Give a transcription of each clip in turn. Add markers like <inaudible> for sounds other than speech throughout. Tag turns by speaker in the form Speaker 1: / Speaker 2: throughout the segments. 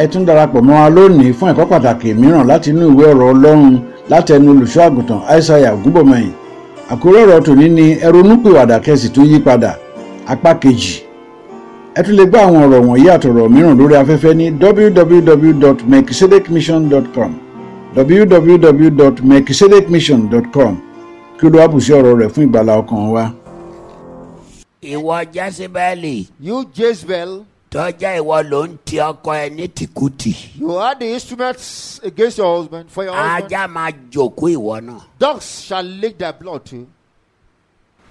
Speaker 1: ẹ tún darapọ̀ mọ́ wa lónìí fún ẹ̀kọ́ pàtàkì mìíràn láti inú ìwé ọ̀rọ̀ ọlọ́run látẹnu olùṣọ́ àgùntàn aishaiya ògúnbọ̀mọyìn àkórí ọ̀rọ̀ tòní ni ẹ ronúpìwàdà kẹsì tún yí padà apá kejì ẹ tún lè gbọ́ àwọn ọ̀rọ̀ wọ̀nyí àtọ̀rọ̀ mìíràn lórí afẹ́fẹ́ ní www.mekisedekmission.com www.mekisedekmission.com kí olúwa bùsí ọ̀rọ̀ rẹ̀ fún ìgbàlá ọkàn wa.
Speaker 2: ìwọ jásíbẹ́ẹ̀lì
Speaker 3: You, Jezebel,
Speaker 2: tọ́jà ìwọ ló ń ti ọkọ ẹ ní tìkútì
Speaker 3: you had the instruments against your husband for your husband.
Speaker 2: ajá máa jòkó ìwọ náà
Speaker 3: Dogs shall lick their blood too.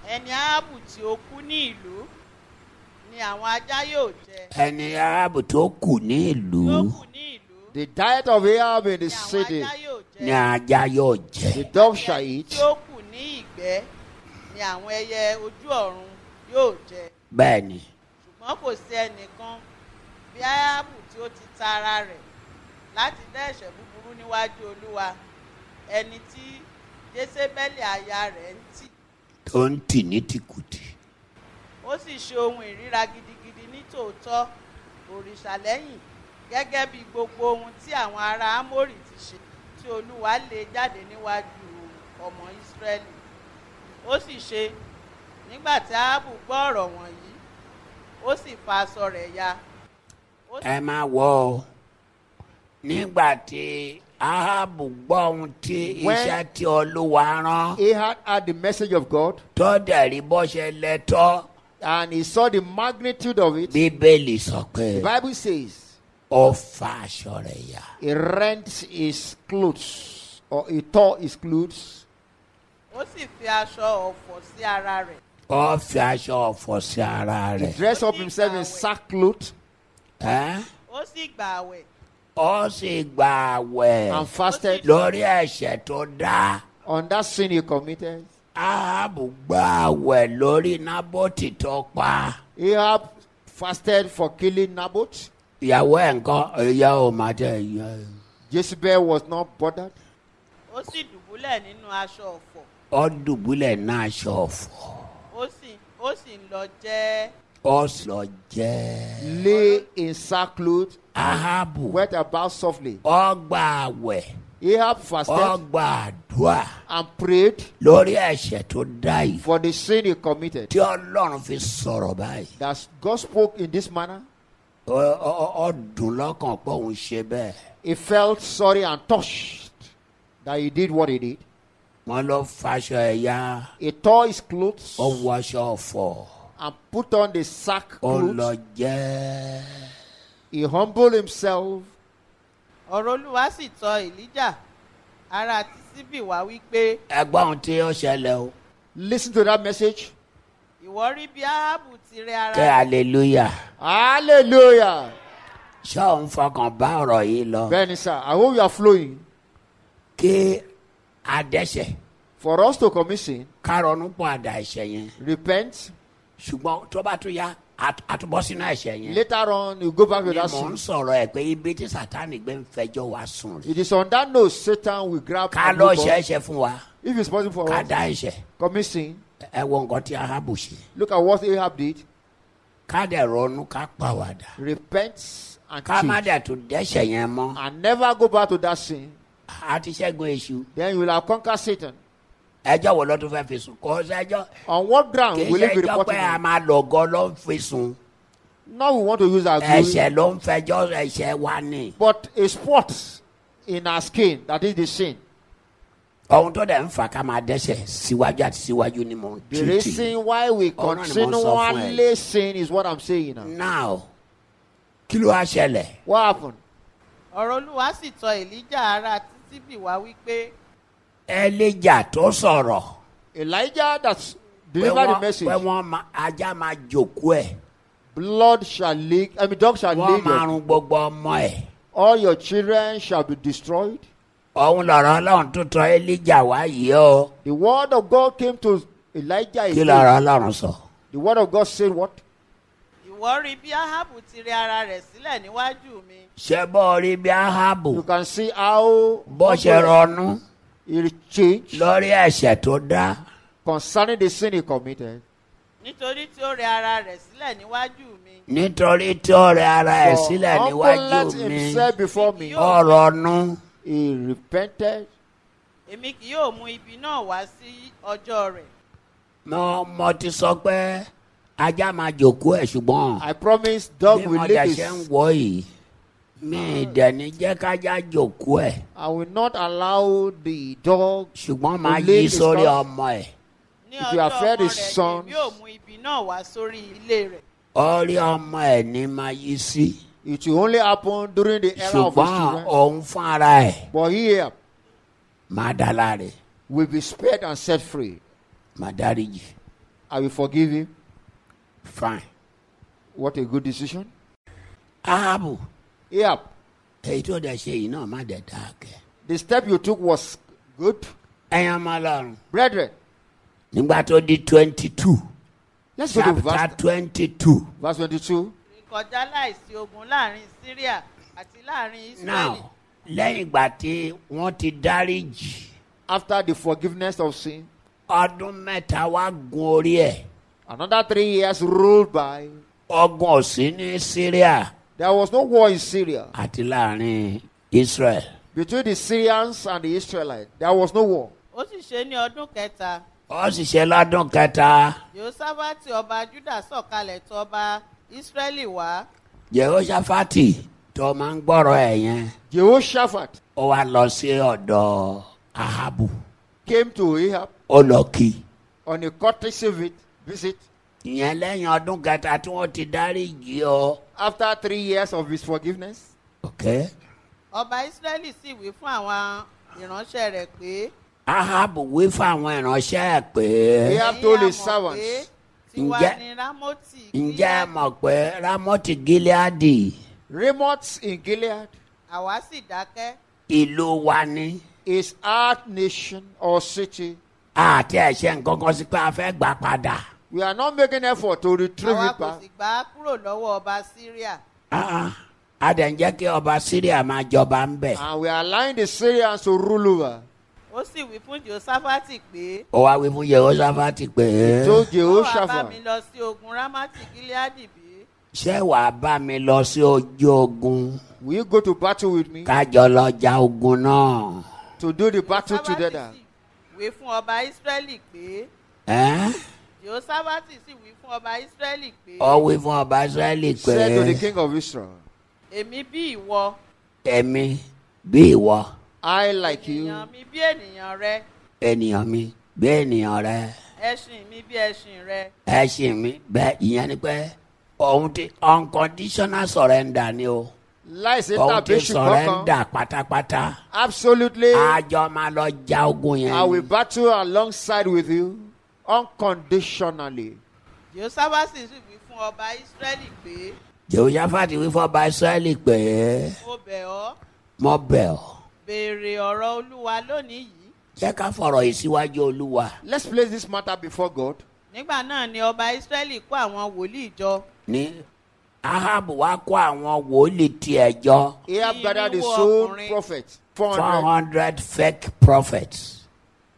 Speaker 4: ẹni arábù tí ó kú ní ìlú ni àwọn ajá yóò jẹ
Speaker 2: ẹni arábù tó kù ní ìlú
Speaker 4: yóò kù ní ìlú
Speaker 3: The diet of Ahab in the
Speaker 4: ni àwọn
Speaker 3: city,
Speaker 4: ajá yóò jẹ
Speaker 2: ni ajá yóò jẹ
Speaker 3: the dog shall eat.
Speaker 4: tí ó kù ní ìgbẹ́ ni àwọn ẹyẹ ojú ọ̀run yóò jẹ
Speaker 2: bẹ́ẹ̀ ni
Speaker 4: ṣùgbọ́n kò sí ẹnìkan bí arábù tí ó ti ta ara rẹ̀ láti dá ẹ̀ṣẹ̀ búburú níwájú olúwa ẹni tí jésébẹ́lì aya rẹ̀ ń tì
Speaker 2: tó ń tì ní tìkútì
Speaker 4: ó sì ṣe ohun ìríra gidigidi ní tòótọ́ òrìṣà lẹ́yìn gẹ́gẹ́ bí gbogbo ohun tí àwọn ará amórì ti ṣe tí olúwa lé jáde níwájú ọmọ ìsírẹ́lì ó sì ṣe nígbà tí aábù gbọ́ ọ̀rọ̀ wọ̀nyí ó sì fa aṣọ rẹ̀ ya ó sì
Speaker 2: ẹ máa wọ ọ nígbà tí ahabu gbọ́ ohun tí
Speaker 3: When-
Speaker 2: iṣẹ́ tí olúwa rán
Speaker 3: Ahab had the message of God
Speaker 2: tó dẹ̀ rí bó ṣe lẹ́tọ́
Speaker 3: and he saw the magnitude of it.
Speaker 2: bíbélì sọ pé
Speaker 3: The Bible says
Speaker 2: ó fa aṣọ rẹ̀ ya
Speaker 3: he rent his clothes or he tore his clothes.
Speaker 4: ó sì fi aṣọ ọ̀fọ̀ sí ara rẹ̀
Speaker 2: ó fi aṣọ ọ̀fọ̀ sí ara
Speaker 3: He
Speaker 2: rẹ̀
Speaker 3: dressed up himself in sackcloth
Speaker 2: ẹ́
Speaker 4: ó sì gbà àwẹ̀
Speaker 2: ó sì gba àwẹ̀
Speaker 3: and fasted
Speaker 2: lórí ẹ̀ṣẹ̀ tó dá
Speaker 3: on that sin he committed.
Speaker 2: ahabu gba àwẹ̀ lórí nábòtì tó pa
Speaker 3: Ahab fasted for killing Naboth.
Speaker 2: ìyàwó ẹ̀ ńkọ́ ìyá ò má tẹ̀ ìyá ẹ̀.
Speaker 3: Jezebel was not bothered.
Speaker 4: ó sì dùbúlẹ̀ nínú aṣọ ọ̀fọ̀
Speaker 2: ó dùbúlẹ̀ náà aṣọ ọ̀fọ̀
Speaker 4: ó sì ó sì ń lọ jẹ́
Speaker 2: ó sọ jẹ́
Speaker 3: Lay in sackcloth,
Speaker 2: ahabu
Speaker 3: went about softly.
Speaker 2: ó gba àwẹ̀
Speaker 3: Ahab
Speaker 2: ó
Speaker 3: fasted
Speaker 2: gba àdúrà
Speaker 3: and prayed
Speaker 2: lórí ẹ̀ṣẹ̀ tó dá yìí
Speaker 3: for the sin he committed.
Speaker 2: tí ọlọ́run fi sọ̀rọ̀ báyìí
Speaker 3: That God spoke in this manner.
Speaker 2: Ọ- ọ- ọ- ó dùn lọ́kàn pé òun ṣe bẹ́ẹ̀
Speaker 3: He felt sorry and touched that he did what he did.
Speaker 2: wọ́n ló faṣọ ẹ̀yà
Speaker 3: He tore his clothes
Speaker 2: ó wọṣọ ọ̀fọ̀
Speaker 3: and put on the
Speaker 2: ó lọ
Speaker 3: sackcloth.
Speaker 2: jẹ́
Speaker 3: He humbled himself.
Speaker 4: ọ̀rọ̀ olúwa sì tọ èlíjà ará tíṣíbì wá wípé
Speaker 2: ẹgbọ́n ohun tí ó ṣẹlẹ̀ o
Speaker 3: Listen to that message.
Speaker 4: ìwọ rí bí aábù ti rẹ ara
Speaker 2: kẹ́
Speaker 4: rẹ̀
Speaker 2: hallelujah
Speaker 3: Hallelujah.
Speaker 2: ṣé òun fọkàn bá ọ̀rọ̀ yìí lọ
Speaker 3: Benny, sir, I hope you are flowing.
Speaker 2: kí adẹ́sẹ̀
Speaker 3: For us to commit sin,
Speaker 2: kárọ̀nù pọ̀ àdá ẹ̀ṣẹ̀ yẹn
Speaker 3: repent.
Speaker 2: ṣùgbọ́n tó bá tún yá at- àtúbọ̀ sínú ẹ̀ṣẹ̀ yẹn.
Speaker 3: Later on, you go back
Speaker 2: ni
Speaker 3: to that
Speaker 2: mò ń
Speaker 3: sin.
Speaker 2: sọ̀rọ̀ ẹ̀ pé ibi tí sátani gbé ń fẹjọ́ wa sùn rè.
Speaker 3: It is on that note Satan will grab
Speaker 2: ká
Speaker 3: and
Speaker 2: lọ
Speaker 3: hook
Speaker 2: ṣe
Speaker 3: us.
Speaker 2: ẹ̀ṣẹ̀ fún wa
Speaker 3: If it's possible for
Speaker 2: ká
Speaker 3: us,
Speaker 2: dá ẹ̀ṣẹ̀
Speaker 3: commit sin.
Speaker 2: ẹ wo nǹkan tí ahabu ṣe
Speaker 3: Look at what Ahab did.
Speaker 2: ká dẹ̀ ronú ká pàwàdà
Speaker 3: Repent and
Speaker 2: ká má
Speaker 3: change.
Speaker 2: dẹ̀ tún dẹ́ṣẹ̀ yẹn mọ́
Speaker 3: And never go back to that sin.
Speaker 2: a ti ṣẹ́gun èṣù
Speaker 3: Then you will have conquered Satan.
Speaker 2: ẹjọ́ wo ló tún fẹ́ fi sùn kó sẹ́jọ́
Speaker 3: On what ground
Speaker 2: kì í
Speaker 3: will it be
Speaker 2: ṣẹ́jọ́ pé
Speaker 3: reported?
Speaker 2: a
Speaker 3: on?
Speaker 2: máa lọ̀gọ́ ló ń fi sùn
Speaker 3: Now we want to use our glory,
Speaker 2: ẹ̀ṣẹ̀ ló ń fẹjọ́ ẹ̀ṣẹ̀ wa ni
Speaker 3: but a spot in our skin that is the sin.
Speaker 2: ohun tó dẹ̀ ń fà ká máa dẹ́ṣẹ̀ síwájú àti síwájú ni mò ń
Speaker 3: The
Speaker 2: tìtì
Speaker 3: reason why we
Speaker 2: Oh, no, no,
Speaker 3: continue
Speaker 2: no, software.
Speaker 3: only sin is what I'm saying now.
Speaker 2: now kí ló wá ṣẹlẹ̀
Speaker 3: What happened?
Speaker 4: ọ̀rọ̀ olúwa sì tọ èlíjà ará tíṣíbì wá wípé
Speaker 2: ẹlẹ́jà tó sọ̀rọ̀
Speaker 3: Elijah that
Speaker 2: pé
Speaker 3: delivered the
Speaker 2: wọ́n
Speaker 3: message.
Speaker 2: pé wọ́n ma- ajá máa jòkó ẹ̀
Speaker 3: Blood shall leak. I mean, dog shall
Speaker 2: wọ́n
Speaker 3: leak.
Speaker 2: máa run gbogbo ọmọ ẹ̀
Speaker 3: All your children shall be destroyed.
Speaker 2: ọ̀hún lọ̀rọ̀ ọlọ́run tó tọ ẹlẹ́jà wá yìí o
Speaker 3: The word of God came to Elijah.
Speaker 2: kí
Speaker 3: again.
Speaker 2: lọ̀rọ̀ ọlọ́run sọ
Speaker 3: The word of God said what?
Speaker 4: ìwọ rí bí aábù ti rẹ ara rẹ̀ sílẹ̀ níwájú mi
Speaker 2: ṣé bó o rí bí ahabu
Speaker 3: You can see how
Speaker 2: bó ṣe ronú
Speaker 3: he changed
Speaker 2: lórí ẹ̀ṣẹ̀ tó dá
Speaker 3: concerning the sin he committed.
Speaker 4: nítorí tí ó rẹ ara rẹ̀ sílẹ̀ níwájú mi
Speaker 2: nítorí tí ó rẹ ara ẹ̀
Speaker 3: For
Speaker 2: sílẹ̀
Speaker 3: humbled
Speaker 2: níwájú mi
Speaker 3: himself before me.
Speaker 4: Yo.
Speaker 2: ọ̀rọ̀ ọ̀nù
Speaker 3: He repented.
Speaker 4: èmi kì yóò mú ibi náà wá sí ọjọ́ rẹ̀
Speaker 2: mo mo ti sọ pé ajá máa jòkó ẹ̀ ṣùgbọ́n
Speaker 3: I promise dog
Speaker 2: bí
Speaker 3: will
Speaker 2: mo
Speaker 3: leave
Speaker 2: dẹ̀ ṣe ń
Speaker 3: his.
Speaker 2: wọ̀ yìí mi ì dẹ̀ ní jẹ́ kájá jòkó ẹ̀
Speaker 3: I will not allow the dog.
Speaker 2: ṣùgbọ́n máa
Speaker 3: Ilé
Speaker 2: yí
Speaker 3: is
Speaker 2: sórí
Speaker 3: not-
Speaker 2: ọmọ ẹ̀
Speaker 4: ní
Speaker 3: If you
Speaker 4: ọjọ́
Speaker 3: have
Speaker 4: ọmọ
Speaker 3: fed
Speaker 4: rẹ̀
Speaker 3: his sons-
Speaker 4: èmi yóò mú ibi náà wá sórí ilé rẹ̀
Speaker 2: orí ọmọ ẹ̀ ní máa yí sí
Speaker 3: It will only happen during the era of his
Speaker 2: ṣùgbọ́n
Speaker 3: children.
Speaker 2: òun fún ara ẹ̀
Speaker 3: But here
Speaker 2: máa dá láre
Speaker 3: will be spared and set free.
Speaker 2: máa dáríjì
Speaker 3: I will forgive him.
Speaker 2: fine.
Speaker 3: What a good decision.
Speaker 2: ahabu
Speaker 3: Here,
Speaker 2: èyí tó dẹ̀ ṣe yìí náà má dẹ̀ dáa kẹ́
Speaker 3: the step you took was good.
Speaker 2: ẹ̀yin ọmọ ọlọ́run
Speaker 3: Brethren,
Speaker 2: nígbà tó di twenty two
Speaker 3: let's go to
Speaker 2: chapter
Speaker 3: verse,
Speaker 2: twenty two
Speaker 3: verse 22.
Speaker 4: ìkọjá láìsí ogun láàrin syria àti láàrin
Speaker 2: now
Speaker 4: israeli
Speaker 2: lẹ́yìn ìgbà tí wọ́n ti dáríjì
Speaker 3: After the forgiveness of sin,
Speaker 2: ọdún mẹ́ta wá gun orí ẹ̀
Speaker 3: another three years rolled by.
Speaker 2: ọgbọ̀n sí ní syria
Speaker 3: There was no war in Syria.
Speaker 2: àti láàrin israel
Speaker 3: Between the Syrians and the Israelites, there was no war.
Speaker 4: ó sì ṣe ní ọdún kẹta
Speaker 2: ó sì ṣe lọ́dún kẹta
Speaker 4: yehoshaphati ọba juda sọ̀kalẹ̀ tọ̀ ọba israeli wá
Speaker 2: jehoshaphat tó máa ń gbọ́rọ̀ ẹ̀ yẹn
Speaker 3: Jehoshaphat
Speaker 2: ó wá lọ sí ọ̀dọ̀ ahabu
Speaker 3: came to Ahab
Speaker 2: ó lọ kí i.
Speaker 3: on a courtesy vi- visit
Speaker 2: ìyẹn lẹ́yìn ọdún kẹta tí wọ́n ti dáríjì ọ.
Speaker 3: after three years of his forgiveness.
Speaker 2: ok.
Speaker 4: ọba israeli sì wí fún àwọn ìránṣẹ́ rẹ̀ pé
Speaker 2: ahabu wí fáwọn ìránṣẹ́ ẹ̀ pé
Speaker 3: Yeah. have
Speaker 4: "Ẹ̀yin
Speaker 3: told
Speaker 4: á
Speaker 3: his
Speaker 4: mọ̀
Speaker 3: servants,
Speaker 4: pé tiwa
Speaker 2: "Ǹjẹ́-
Speaker 4: ni ramoti
Speaker 2: ǹjẹ́ ẹ mọ̀ pé ramoti gileadi
Speaker 3: Ramoth in Gilead
Speaker 4: àwa sì dákẹ́
Speaker 2: ìlú wa ni
Speaker 3: is our nation or city.
Speaker 2: àti ẹ̀ṣẹ̀ nǹkan kan sí pé a fẹ́ gbà padà.
Speaker 3: We are not making effort to retrieve
Speaker 4: àwa
Speaker 3: it
Speaker 4: kò
Speaker 3: back.
Speaker 4: sì gbà á kúrò lọ́wọ́ ọba syria
Speaker 2: Ah ah. a dẹ̀ ń jẹ́ kí ọba syria máa jọba ń bẹ̀.
Speaker 3: <laughs> And we are allowing the Syrians to rule over.
Speaker 4: ó sì wí fún jehoshaphat pé
Speaker 2: ó wá wí fún yehoshaphat pé
Speaker 3: So
Speaker 4: "Ó wá bá mi
Speaker 3: Jehoshaphat,
Speaker 4: lọ sí ogun ramati gileadi bí
Speaker 2: ṣé wàá bá mi lọ sí ojú ogun
Speaker 3: will you go to battle with me
Speaker 2: kájọ lọ ja ogun náà.
Speaker 3: to do the battle
Speaker 4: Jehoṣafati
Speaker 3: together?
Speaker 4: sì wí fún ọba israeli pé
Speaker 2: ẹ́
Speaker 4: jehoshaphat sì wí fún ọba israeli pé
Speaker 2: ọ wí fún ọba israẹli pé.
Speaker 3: Said to the king of Israel,
Speaker 4: èmi bí ìwọ
Speaker 2: ẹ̀mí bí ìwọ
Speaker 3: I like you,
Speaker 4: ènìyàn mi bí ènìyàn rẹ
Speaker 2: ènìyàn mi bí ènìyàn rẹ
Speaker 4: ẹṣin mi bí ẹṣin rẹ
Speaker 2: ẹṣin mi bẹ́ẹ̀ ìyẹn ni pé òun ti unconditional surrender ni o
Speaker 3: láìsí
Speaker 2: òun ti
Speaker 3: tàbí ṣùgbọ́n kan.
Speaker 2: surrender pátápátá
Speaker 3: Absolutely, I,
Speaker 2: àjọ máa lọ ja ogun yẹn
Speaker 3: will
Speaker 2: ni.
Speaker 3: battle alongside with you unconditionally.
Speaker 4: jehoshaphat sì wí fún ọba israeli pé
Speaker 2: jehoshaphat wí fọba israẹli pé
Speaker 4: mo bẹ̀ ọ́
Speaker 2: mo bẹ̀ ọ́
Speaker 4: béèrè ọ̀rọ̀ olúwa lónìí yìí
Speaker 2: jẹ́ ká fọ̀rọ̀ yìí síwájú olúwa
Speaker 3: Let's place this matter before God.
Speaker 4: nígbà náà ni ọba israeli kó àwọn wòlíì jọ
Speaker 2: ní ahabu wá kó àwọn wòlíì tiẹ̀ jọ
Speaker 3: Ahab
Speaker 4: Irú
Speaker 3: gathered the
Speaker 4: wo
Speaker 3: sole
Speaker 4: ọkùnrin?
Speaker 3: prophet
Speaker 2: four
Speaker 3: four hundred.
Speaker 2: hundred fake prophets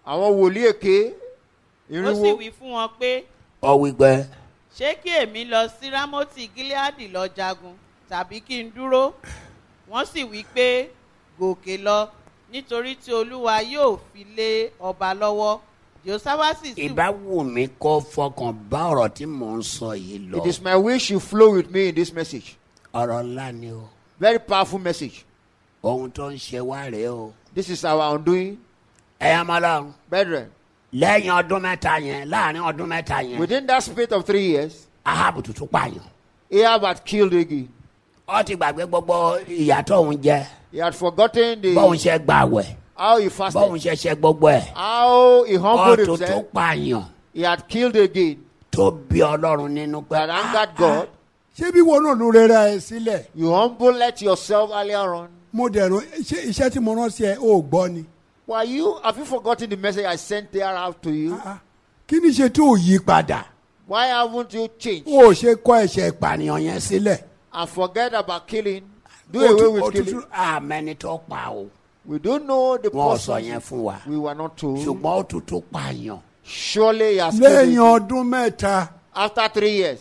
Speaker 3: Àwọn wòlíì èké
Speaker 4: ó sì
Speaker 3: irínwó.
Speaker 4: wí fún wọn pé
Speaker 2: ọ wí pé.
Speaker 4: ṣé kí èmi lọ sí rámọ́tì gíláàdì lọ jagun tàbí kí n dúró wọ́n sì wí pé gòkè lọ nítorí tí olúwa yóò fi lé ọba lọ́wọ́ jehoshaphati sì
Speaker 2: ìbá wù mí kó fọkàn bá ọ̀rọ̀ tí mò ń sọ yìí lọ.
Speaker 3: It is my wish you flow with me in this message.
Speaker 2: ọ̀rọ̀ ńlá ni o
Speaker 3: Very powerful message.
Speaker 2: ohun tó ń ṣe wá rèé o.
Speaker 3: This is our undoing.
Speaker 2: ẹ̀yà ọmọlọ́run
Speaker 3: Brethren,
Speaker 2: lẹ́yìn ọdún mẹ́ta yẹn láàrin ọdún mẹ́ta yẹn
Speaker 3: within that space of three years,
Speaker 2: ahabu tuntun pààyàn.
Speaker 3: Ahab had killed again.
Speaker 2: ó ti gbàgbé gbogbo ìyà tó òun jẹ
Speaker 3: He had forgotten
Speaker 2: bóun
Speaker 3: the
Speaker 2: ṣe gba àwẹ̀
Speaker 3: how he
Speaker 2: bóun
Speaker 3: fasted,
Speaker 2: ṣe ṣe gbogbo ẹ̀.
Speaker 3: how he
Speaker 2: ó
Speaker 3: humbled
Speaker 2: tuntun
Speaker 3: himself.
Speaker 2: pààyàn
Speaker 3: He had killed again.
Speaker 2: tó bí ọlọ́run nínú pé.
Speaker 3: That
Speaker 2: Ah,
Speaker 3: angered God.
Speaker 5: ṣé bí wọn náà ló rẹra ẹ sílẹ̀
Speaker 3: You humble let yourself earlier on.
Speaker 5: mo dẹ̀rọ ṣé iṣẹ́ tí mo rán sí ẹ ò gbọ́ ni
Speaker 3: Why you have you forgotten the message I sent there out to you?
Speaker 5: Ah, ah. kí ni ṣe tó yí padà
Speaker 3: Why haven't you changed
Speaker 5: o ò ṣe kọ́ ẹ̀ṣẹ̀ ìpànìyàn yẹn sílẹ̀
Speaker 3: and forget about killing? Do
Speaker 5: O tu-
Speaker 3: away
Speaker 5: o Ah,
Speaker 3: with
Speaker 5: tutu-
Speaker 3: killing.
Speaker 2: àmẹ́ni tó pa o
Speaker 3: We don't know the
Speaker 2: wọn ò sọ yẹn
Speaker 3: person.
Speaker 2: fún wa
Speaker 3: We were not told.
Speaker 2: ṣùgbọ́n ó tuntun pààyàn.
Speaker 3: Surely he has killed
Speaker 5: lẹ́yìn
Speaker 3: again.
Speaker 5: ọdún mẹ́ta
Speaker 3: after three years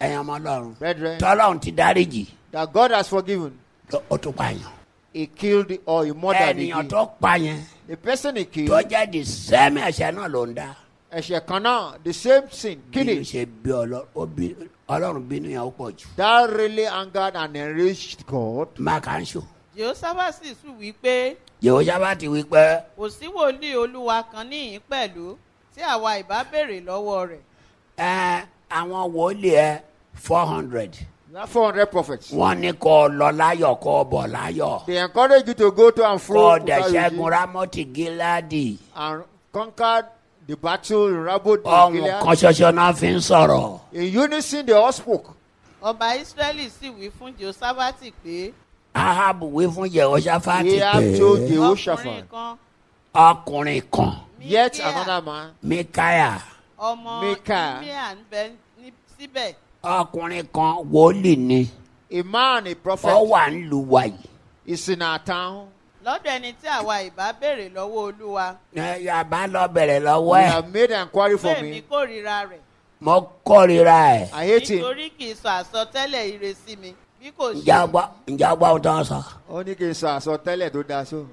Speaker 2: ẹ̀yin ọmọ ọlọ́run
Speaker 3: brethren
Speaker 2: tọ́lọ́run ti dáríjì
Speaker 3: that God has forgiven.
Speaker 2: ló- ó tún pààyàn
Speaker 3: He killed or he murdered the
Speaker 2: ènìyàn tó pààyàn
Speaker 3: The person he
Speaker 2: tó
Speaker 3: killed,
Speaker 2: jẹ́ di sẹ́mi ẹ̀ṣẹ̀ náà ló ń dá
Speaker 3: Eshekana, the same sin, killed
Speaker 2: bí o
Speaker 3: him.
Speaker 2: ṣe bí Ọlọ́- ó bí- ọlọ́run bínú yẹn ó pọ̀ jù
Speaker 3: That really angered and enraged God.
Speaker 2: má kà ń ṣò
Speaker 4: jehoshaphati sì wí pé
Speaker 2: yehova bá ti wí pé
Speaker 4: kò sí wòlíì olúwa kan níhìn pẹ̀lú tí àwa ìbá béèrè lọ́wọ́ rẹ̀
Speaker 2: ẹ àwọn wòlíì ẹ four hundred
Speaker 3: There are 400 prophets.
Speaker 2: wọn ní kó lọ láyọ̀ kó bọ̀ láyọ̀
Speaker 3: They encourage you to go to and fro
Speaker 2: kó
Speaker 3: to
Speaker 2: dẹ̀
Speaker 3: Saudi
Speaker 2: ṣẹ́gun ramọ́tì gíláàdì
Speaker 3: and conquered the battle in Rabbot in
Speaker 2: ọ̀hún kan
Speaker 3: Gilead.
Speaker 2: ṣoṣo náà fi ń sọ̀rọ̀.
Speaker 3: In unison, they all spoke.
Speaker 4: ọba israẹli sì wí fún jehoshaphati pé
Speaker 2: ahabu wí fún yehoshaphat
Speaker 3: He have
Speaker 2: pé
Speaker 3: told
Speaker 4: ọkùnrin
Speaker 3: Jehoshaphat,
Speaker 4: kan
Speaker 2: ọkùnrin kan
Speaker 3: yet
Speaker 4: Micaiah,
Speaker 3: another man,
Speaker 2: mikaya
Speaker 4: ọmọ
Speaker 3: Micaiah.
Speaker 4: imia ń bẹ ní- síbẹ̀
Speaker 2: ọkùnrin kan wòlíì ni
Speaker 3: a man, a
Speaker 2: ó
Speaker 3: prophet,
Speaker 2: wà nílùú wa yìí.
Speaker 3: is in our town.
Speaker 4: lọ́dọ̀ ẹni tí àwa ìbá béèrè lọ́wọ́ olúwa
Speaker 2: Ẹ, yàbá lọ bẹ̀rẹ̀ lọ́wọ́
Speaker 3: He
Speaker 2: ẹ̀
Speaker 3: have made inquiry for
Speaker 4: pé mi
Speaker 3: me.
Speaker 4: kórìíra rẹ̀
Speaker 2: mo kórìíra ẹ̀.
Speaker 3: I hate him.
Speaker 4: nítorí kì í sọ àsọtẹ́lẹ̀ ire sí mi bí kò ṣe
Speaker 2: ǹjẹ́ ọgbọ́ ǹjẹ́ ọgbọ́ ohun tó ń sọ.
Speaker 3: ó ní kí n sọ àsọtẹ́lẹ̀ tó dáa so.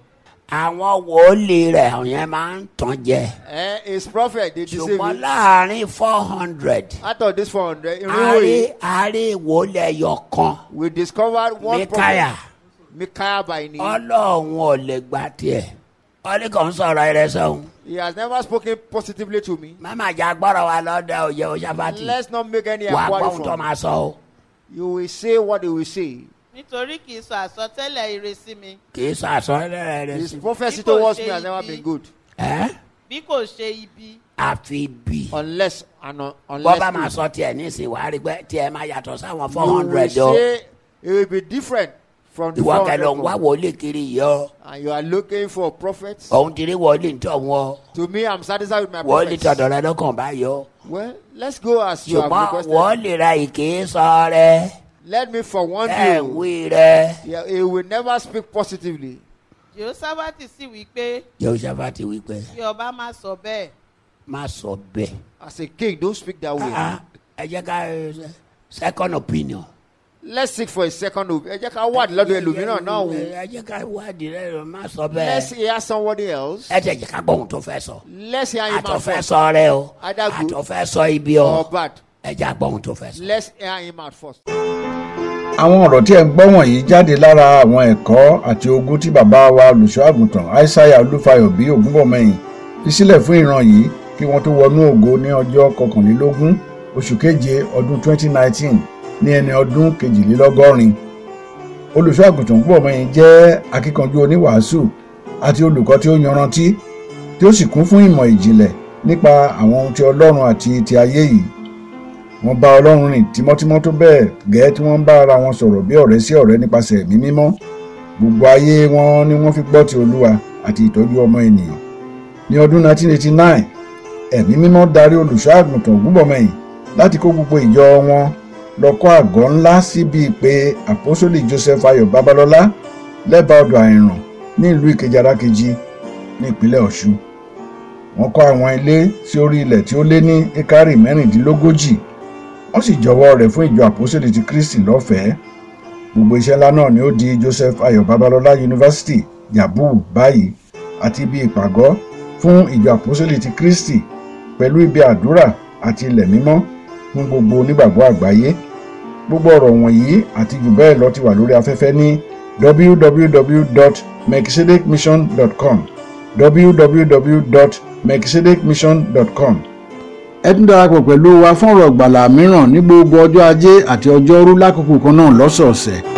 Speaker 2: àwọn wòlíì rẹ̀ àwọn yẹn máa ń tàn jẹ.
Speaker 3: Eh, his prophet they deceive
Speaker 2: ṣùgbọ́n
Speaker 3: him.
Speaker 2: láàrin four hundred
Speaker 3: Out of this 400, in
Speaker 2: a rí
Speaker 3: Rinwoye,
Speaker 2: a rí wòlíì ẹyọ kan
Speaker 3: we discovered one
Speaker 2: mikaya
Speaker 3: prophet, Micaiah by name.
Speaker 2: ọlọ́run ò lè gba tiẹ̀ ọlẹ́kàn ń sọ̀rọ̀ rẹ̀ sẹ́wọ̀n.
Speaker 3: He has never spoken positively to me.
Speaker 2: mama jà gbọ́dọ̀ wa lọ́dọ̀ òye oṣàfàtì
Speaker 3: Let's not make any
Speaker 2: wà á gbọ́
Speaker 3: inquiry
Speaker 2: ohun tó
Speaker 3: from him.
Speaker 2: máa sọ o
Speaker 3: You will say what he will say.
Speaker 4: nítorí kì í sọ àsọtẹ́lẹ̀ ire sí mi
Speaker 2: kì í sọ àsọyẹlẹ rẹ
Speaker 3: His
Speaker 2: sí.
Speaker 3: prophecy
Speaker 4: People
Speaker 3: towards
Speaker 4: say
Speaker 3: me has never
Speaker 4: he-
Speaker 3: been good.
Speaker 2: ẹ́
Speaker 4: bí kò ṣe ibi
Speaker 2: àfi bí
Speaker 3: Unless and un-
Speaker 2: bọ́ba máa
Speaker 3: unless
Speaker 2: sọ tiẹ̀ nísìnyí wàá rí pé tiẹ̀ máa yàtọ̀ sáwọn
Speaker 3: you
Speaker 2: four
Speaker 3: will
Speaker 2: hundred o
Speaker 3: say oh. it will be different from the
Speaker 2: ìwọ
Speaker 3: 400
Speaker 2: kẹlẹ ń wá
Speaker 3: prophet.
Speaker 2: wòlíì kiri yìí o
Speaker 3: And you are looking for prophets.
Speaker 2: òun ti rí wòlíì ń tọ̀ wọn o
Speaker 3: To me, I'm satisfied with my
Speaker 2: wòlíì
Speaker 3: prophets.
Speaker 2: tọ̀dọ̀ rẹ lọ́kàn báyìí o
Speaker 3: Well, let's go as you have
Speaker 2: ṣùgbọ́n
Speaker 3: requested.
Speaker 2: wòlíì rẹ yìí kì í sọ rẹ
Speaker 3: Let me forewarn
Speaker 2: ẹ̀
Speaker 3: you.
Speaker 2: wí rẹ
Speaker 3: Yeah, he will never speak positively.
Speaker 4: jehoshaphati sì wí pé
Speaker 2: yorùsàfà ti wí pé
Speaker 4: kí ọba má sọ bẹ́ẹ̀
Speaker 2: má sọ bẹ́ẹ̀
Speaker 3: As a king, don't speak that way.
Speaker 2: Ah, ah, ẹ jẹ́ ká ẹ, second opinion.
Speaker 3: Let's seek for a second. op- Ẹ jẹ́ ká wá lọ́dọ̀ ẹlòmíràn náà wò.
Speaker 2: ẹ jẹ́ ká wádìí rẹ lọ má sọ
Speaker 3: Let's
Speaker 2: bẹ́ẹ̀.
Speaker 3: hear somebody else.
Speaker 2: ẹ tẹ̀ jẹ́ ká gbọ́ ohun tó fẹ́ sọ.
Speaker 3: Let's hear him
Speaker 2: àtọ̀
Speaker 3: out
Speaker 2: fẹ́
Speaker 3: first.
Speaker 2: sọ rẹ o
Speaker 3: Adágún.
Speaker 2: àtọ̀ fẹ́ sọ ibi
Speaker 3: Or
Speaker 2: o
Speaker 3: bad.
Speaker 2: ẹ jẹ́ àgbọ̀ ohun tó fẹ́ sọ.
Speaker 3: Let's hear him out first.
Speaker 1: àwọn ọ̀rọ̀ tí ẹ̀ ń gbọ́ wọ̀nyí jáde lára àwọn ẹ̀kọ́ àti ogún tí bàbá wa olùṣọ́ àgùntàn aishaiya olúfayọ bí ògúnbọ̀mọyìn fi sílẹ̀ fún ìran yìí kí wọ́n tó wọnú ògo ní ọjọ́ kọkànlélógún oṣù keje ọdún 2019 ní ẹni ọdún kejìlélọ́gọ́rin olùṣọ́ àgùntàn ògúnbọ̀mọyìn jẹ́ akíkanjú oníwàásù àti olùkọ́ tí ó yanrantí tí ó sì kún fún ìmọ̀ ìjìnlẹ̀ nípa àwọn ohun ti ọlọ́run àti ti ayé yìí wọ́n bá ọlọ́run rìn tímọ́tímọ́ tó bẹ́ẹ̀ gẹ́ẹ́ tí wọ́n ń bá ara wọn sọ̀rọ̀ bí ọ̀rẹ́ sí ọ̀rẹ́ nípasẹ̀ ẹ̀mí mímọ́ gbogbo ayé wọn ni wọ́n fi gbọ́ ti olúwa àti ìtọ́jú ọmọ ènìyàn ní ọdún 1989 ẹ̀mí mímọ́ darí olùṣọ́ àgùntàn gúbọ̀mọyìn láti kó gbogbo ìjọ wọn lọ kọ́ àgọ́ ńlá síbi pé àpọ́sólì joseph ayọ̀ babalọ́lá lẹ́bàá ọdọ̀ àìràn ní ìlú ìkejì arákejì ní ìpínlẹ̀ ọ̀ṣun wọ́n kọ́ àwọn ilé sí orí ilẹ̀ tí ó lé ní ekari mẹ́rìndínlógójì wọ́n sì jọ̀wọ́ rẹ̀ fún ìjọ àpòsílẹ̀ ti kristi lọ́fẹ̀ẹ́ gbogbo iṣẹ́ ńlá náà ni ó di joseph ayọ̀ babalọ́lá yunifásitì yabu báyìí àti ibi ìpàgọ́ fún ìjọ àpòsílẹ̀ ti kristi pẹ̀lú ibi àdúrà àti ilẹ̀ mímọ́ fún gbogbo onígbàgbọ́ àgbáyé gbogbo ọ̀rọ̀ wọ̀nyí àti jù bẹ́ẹ̀ lọ ti wà lórí afẹ́fẹ́ ní www.mexicidicmission.com www.mexicidicmission.com ẹ tún darapọ̀ pẹ̀lú wa fún ọ̀rọ̀ ìgbàlà mìíràn ní gbogbo ọjọ́ ajé àti ọjọ́rú lákòókò kan náà lọ́sọ̀ọ̀sẹ̀